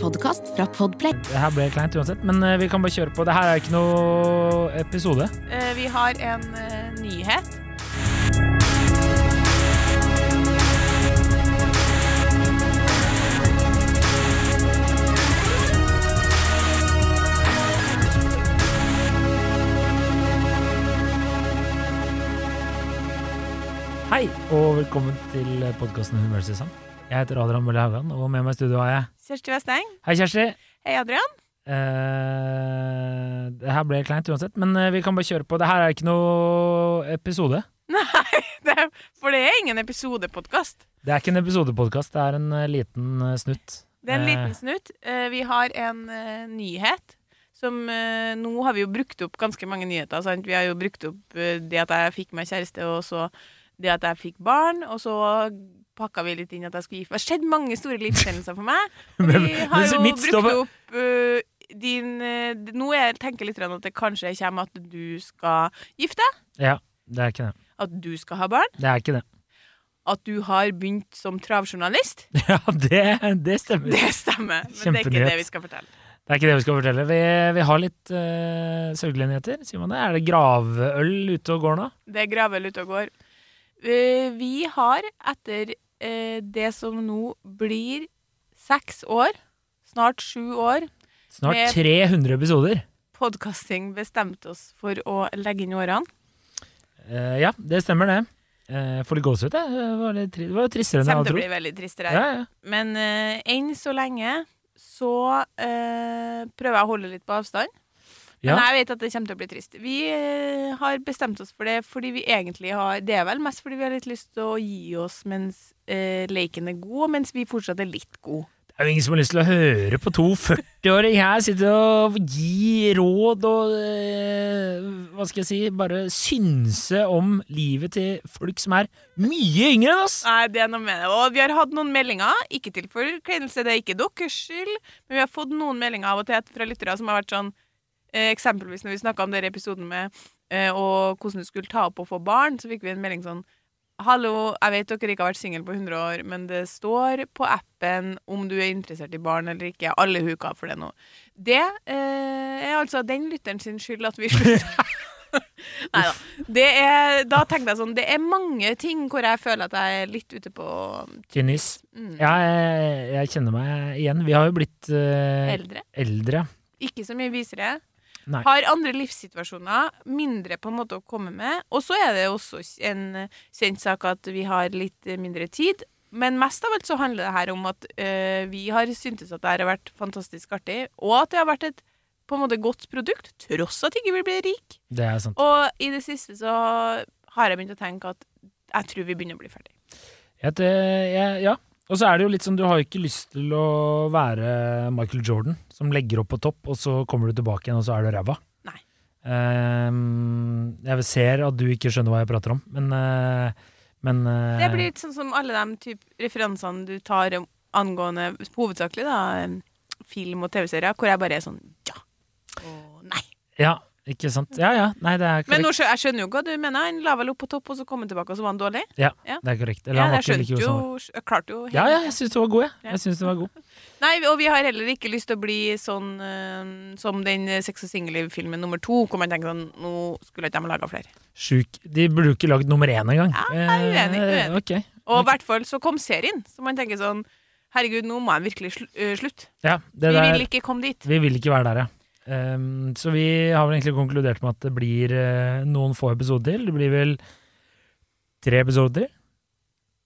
podkast fra Podplay. Det her ble kleint uansett, men eh, vi kan bare kjøre på. Det her er ikke noe episode. Eh, Vi har en eh, nyhet. Hei, og velkommen til podkasten Hun versus han. Jeg heter Adrian Mølle Haugan, og med meg i studio har jeg Kjersti Westeng. Hei, Kjersti. Hei, Adrian. Eh, det her ble kleint uansett, men eh, vi kan bare kjøre på. Det her er ikke noe episode. Nei, det er, for det er ingen episodepodkast. Det er ikke en episodepodkast, det er en eh, liten eh, snutt. Det er en Eh, liten snutt. Eh, Vi har en eh, nyhet. Som, eh, nå har vi jo brukt opp ganske mange nyheter. Sant? Vi har jo brukt opp eh, det at jeg fikk meg kjæreste, og så det at jeg fikk barn. Og så pakka vi litt inn at jeg skulle gifte meg. Det har skjedd mange store livshendelser for meg. Og Men- vi har men jo mitt brukt står på- opp eh, din eh, d- Nå er- tenker jeg litt grann at det kanskje kommer at du skal gifte Eh, deg. Ja, det er ikke det. At du skal ha barn. Det er ikke det. At du har begynt som travjournalist. Ja, det, det stemmer. Det stemmer. Men det er ikke Kjempenyhet. det vi skal fortelle. Det er ikke det vi skal fortelle. Vi, vi har litt uh, sørgelige nyheter, sier man det. Er det gravøl ute og går nå? Det er gravel ute og går. Eh, Vi har etter eh, det som nå blir seks år, snart sju år, Snart Med- 300 episoder. podkasting bestemt oss for å legge inn årene. Eh, ja, det stemmer det. Eh, får litt gåsehud, jeg. Det var litt tri- det var jo tristere enn jeg Kommer hadde til å bli trodd. veldig trist. Ja, Ja. ja. Men eh, enn så lenge så eh, prøver jeg å holde litt på avstand. Men Ja. jeg vet at det kommer til å bli trist. Vi eh, har bestemt oss for det fordi vi egentlig har Det er vel mest fordi vi har litt lyst til å gi oss mens eh, leken er god, og mens vi fortsatt er litt gode. Det er jo ingen som har lyst til å høre på to 40-åring her sitte og gi råd og eh, Hva skal jeg si Bare synse om livet til folk som er mye yngre enn oss! Nei, det er noe med det. Og vi har hatt noen meldinger, ikke til forkleinelse, det er ikke deres skyld, men vi har fått noen meldinger av og til fra lyttere som har vært sånn eh, Eksempelvis når vi snakka om denne episoden med eh, og hvordan du skulle ta opp og få barn, så fikk vi en melding sånn Hallo, jeg vet dere ikke har vært single på 100 år, men det står på appen om du er interessert i barn eller ikke. Alle huker for det nå. Det eh, er altså den lytteren sin skyld at vi slutter. Nei da. Det er, da tenkte jeg sånn Det er mange ting hvor jeg føler at jeg er litt ute på Tynn is. mm, Ja, jeg, jeg kjenner meg igjen. Vi har jo blitt eh, eldre. eldre. Ikke så mye visere. Nei. Har andre livssituasjoner, mindre på en måte å komme med. Og så er det også en eh, kjent sak at vi har litt eh, mindre tid. Men mest av alt så handler det her om at eh, vi har syntes at det her har vært fantastisk artig, og at det har vært et på en måte godt produkt, tross at ikke vi blir rik. Det er sant. Og i det siste så har jeg begynt å tenke at jeg tror vi begynner å bli ferdig. Jeg, te- jeg, ja. Og så er det jo litt sånn, du har jo ikke lyst til å være Michael Jordan, som legger opp på topp, og så kommer du tilbake igjen, og så er du ræva. Nei. Ehm, jeg ser at du ikke skjønner hva jeg prater om, men, eh, men eh, Det blir litt sånn som alle de typ referansene du tar om- angående hovedsakelig da, eh, film og TV-serier, hvor jeg bare er sånn ja og nei. Ja, ikke sant. Ja, ja. Nei, det er korrekt. Men nå, skjø- jeg skjønner jo hva du mener. Han la vel opp på topp, og så kom han tilbake, og så var han dårlig. det er korrekt. Eller Ja, han var jeg ikke skjønte like god som han var. jo, jeg klarte jo Ja, ja, helt- jeg syns du var god, jeg. Ja. Jeg synes du var god. Nei, Og vi har heller ikke lyst til å bli sånn eh, som den eh, sex og singelliv-filmen nummer to, hvor man tenker sånn Nå skulle ikke de laga flere. Sjuk. De burde jo ikke lagd nummer én engang. Ja, jeg er uenig, Eh, uenig. ok. Og i hvert fall så kom serien, så man tenker sånn Herregud, nå må jeg virkelig slu øh, slutte. Ja, det Vi der, vil ikke komme dit. Vi vil ikke være der, ja. Ehm, så vi har vel egentlig konkludert med at det blir eh, noen få episoder til. Det blir vel tre episoder til.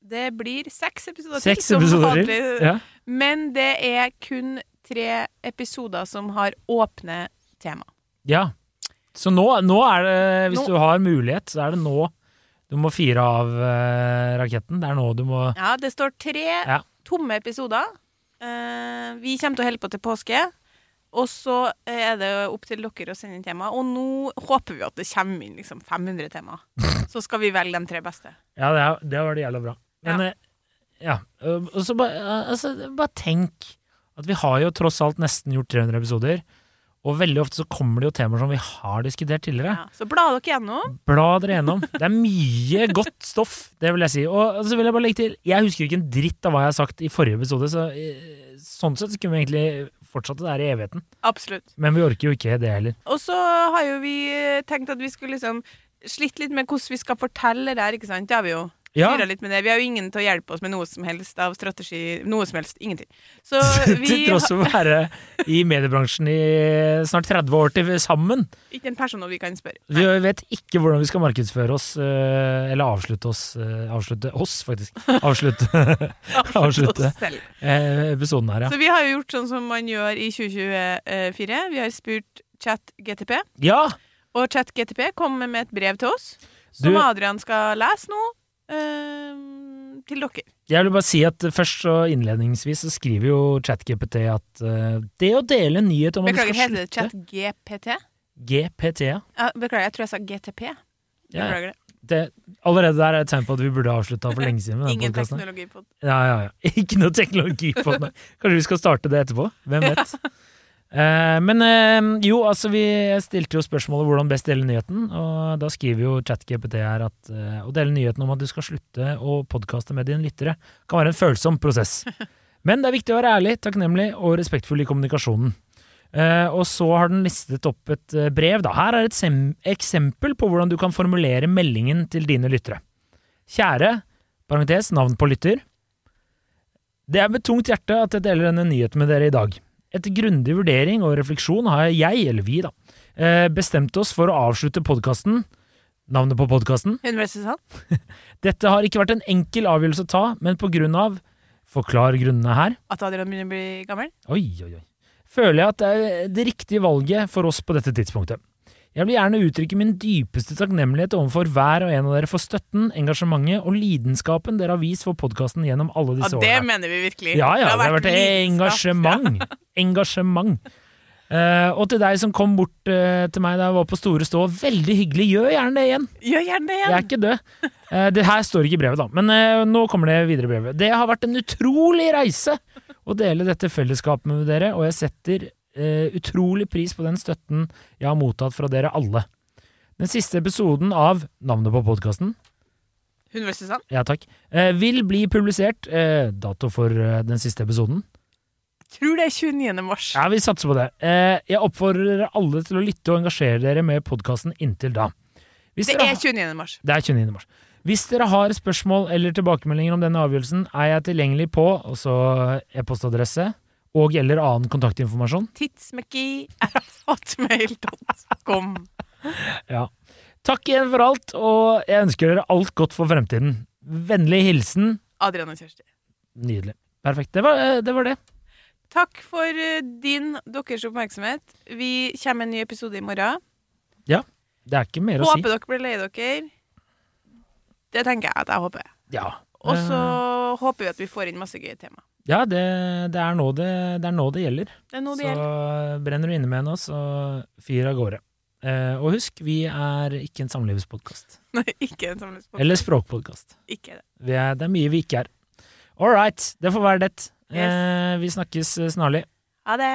Det blir seks episoder Seks til. som episoder til. vanlig. Ja. Men det er kun tre episoder som har åpne tema. ja. Så nå, nå er det, hvis Nå- du har mulighet, så er det nå du må fire av eh, raketten. Det er nå du må Ja, det står tre Ja. tomme episoder. Eh, vi kommer til å holde på til påske. Og så er det opp til dere å sende inn tema. Og nå håper vi at det kommer inn liksom 500 tema. Så skal vi velge de tre beste. Ja, det, er- det var det jævla bra. Men eh, ja. eh, Og så bare, eh, altså, bare tenk at vi har jo tross alt nesten gjort 300 episoder, Og veldig ofte så kommer det jo temaer som vi har diskutert tidligere. Ja. Så bla dere gjennom. Bla dere gjennom. Det er mye godt stoff, det vil jeg si. Og så vil jeg bare legge til, jeg husker ikke en dritt av hva jeg har sagt i forrige episode, så eh, sånn sett så kunne vi egentlig fortsatt det der i evigheten. Absolutt. Men vi orker jo ikke det heller. Og så har jo vi eh, tenkt at vi skulle liksom slitt litt med hvordan vi skal fortelle det her, ikke sant? Det har vi jo. Ja. Styret Litt med det. Vi har jo ingen til å hjelpe oss med noe som helst av strategi. Noe som helst. Ingenting. Så Til vi tross har for å være i mediebransjen i snart 30 år til sammen. ikke en person vi kan spørre. Vi vet ikke hvordan vi skal markedsføre oss, eh, eller avslutte oss eh, Avslutte oss, faktisk. Avslutte, Absolutt avslutte oss selv. eh, episoden her, ja. Så vi har jo gjort sånn som man gjør i 2024. Vi har spurt chat GTP, Ja! og chat GTP kom med et brev til oss, som Du- Adrian skal lese nå, eh, til dere. Jeg vil bare si at først så innledningsvis så skriver jo ChatGPT at eh, det å dele en nyhet om at du Beklager, skal heter det slutte chat GPT? GPT, ja. Ja, Beklager, jeg tror jeg sa GTP. ja. Beklager det. Det, allerede der er et tegn på at vi burde avslutta for lenge siden. med denne Ingen podcasten. teknologi på det. Ja, ja, ja. Ikke noe teknologi på den. Kanskje vi skal starte det etterpå? Hvem vet. Eh, men eh, jo, altså vi stilte jo spørsmålet hvordan best dele nyheten, og da skriver jo ChatGPT her at eh, å dele nyheten om at du skal slutte å podkaste med dine lyttere, kan være en følsom prosess. Men det er viktig å være ærlig, takknemlig og respektfull i kommunikasjonen. Eh, og så har den listet opp et eh, brev. Da. Her er et sem eksempel på hvordan du kan formulere meldingen til dine lyttere. Kjære, parentes, navn på lytter. Det er med tungt hjerte at jeg deler denne nyheten med dere i dag. Etter grundig vurdering og refleksjon har jeg, eller vi da, eh, bestemt oss for å avslutte podkasten, navnet på podkasten. Universitetet? Dette har ikke vært en enkel avgjørelse å ta, men på grunn av Forklar grunnene her. At Adrian begynner å bli gammel? Oi, oi, oi. Føler jeg at det er det riktige valget for oss på dette tidspunktet. Jeg vil gjerne uttrykke min dypeste takknemlighet overfor hver og en av dere for støtten, engasjementet og lidenskapen dere har vist for podkasten gjennom alle Ja, disse det årene. mener vi virkelig. Ja, ja, det har vært lidenskap. engasjement. Engasjement. Eh, og til deg som kom bort eh, til meg da jeg var på Store Stå, veldig hyggelig, gjør gjerne det igjen. Gjør gjerne det Jeg er igjen! ikke død. Eh, det her står ikke i brevet, da, men eh, nå kommer det videre i brevet. Det har vært en utrolig reise å dele dette fellesskapet med dere, og jeg setter eh, utrolig pris på den støtten jeg har mottatt fra dere alle. Den siste episoden av Navnet på podkasten Universitetet? ja, takk, eh, vil bli publisert. eh, dato for eh, den siste episoden. Tror det er 29. mars. Ja, vi satser på det. Eh, jeg oppfordrer dere alle til å lytte og engasjere dere med podkasten inntil da. Hvis Det dere er har- 29. mars. det er 29. mars. Hvis dere har spørsmål eller tilbakemeldinger om denne avgjørelsen, er jeg tilgjengelig på også e-postadresse og eller annen kontaktinformasjon. Tidsmekki at hotmail.com. Ja. Takk igjen for alt, og jeg ønsker dere alt godt for fremtiden. Vennlig hilsen Adrian og Kjersti. Nydelig. Perfekt. Det var eh, det. Var det. Takk for eh, din, deres oppmerksomhet. Vi kommer med en ny episode i morgen. det er ikke mer å si. Håper dere blir lei dere. Det tenker jeg at jeg håper. Ja. Og så Eh, håper vi at vi får inn masse gøye tema. Ja, det, det, er nå det, det er nå det gjelder. Det er noe det så gjelder. brenner du inne med henne, så fyr av gårde. Eh, og husk, vi er ikke en samlivspodkast. Nei, ikke en samlingspodkast. Eller språkpodkast. Ikke det. Vi er, det er mye vi ikke er. All right, det får være det. Eh, vi snakkes eh, snarlig. Ha det.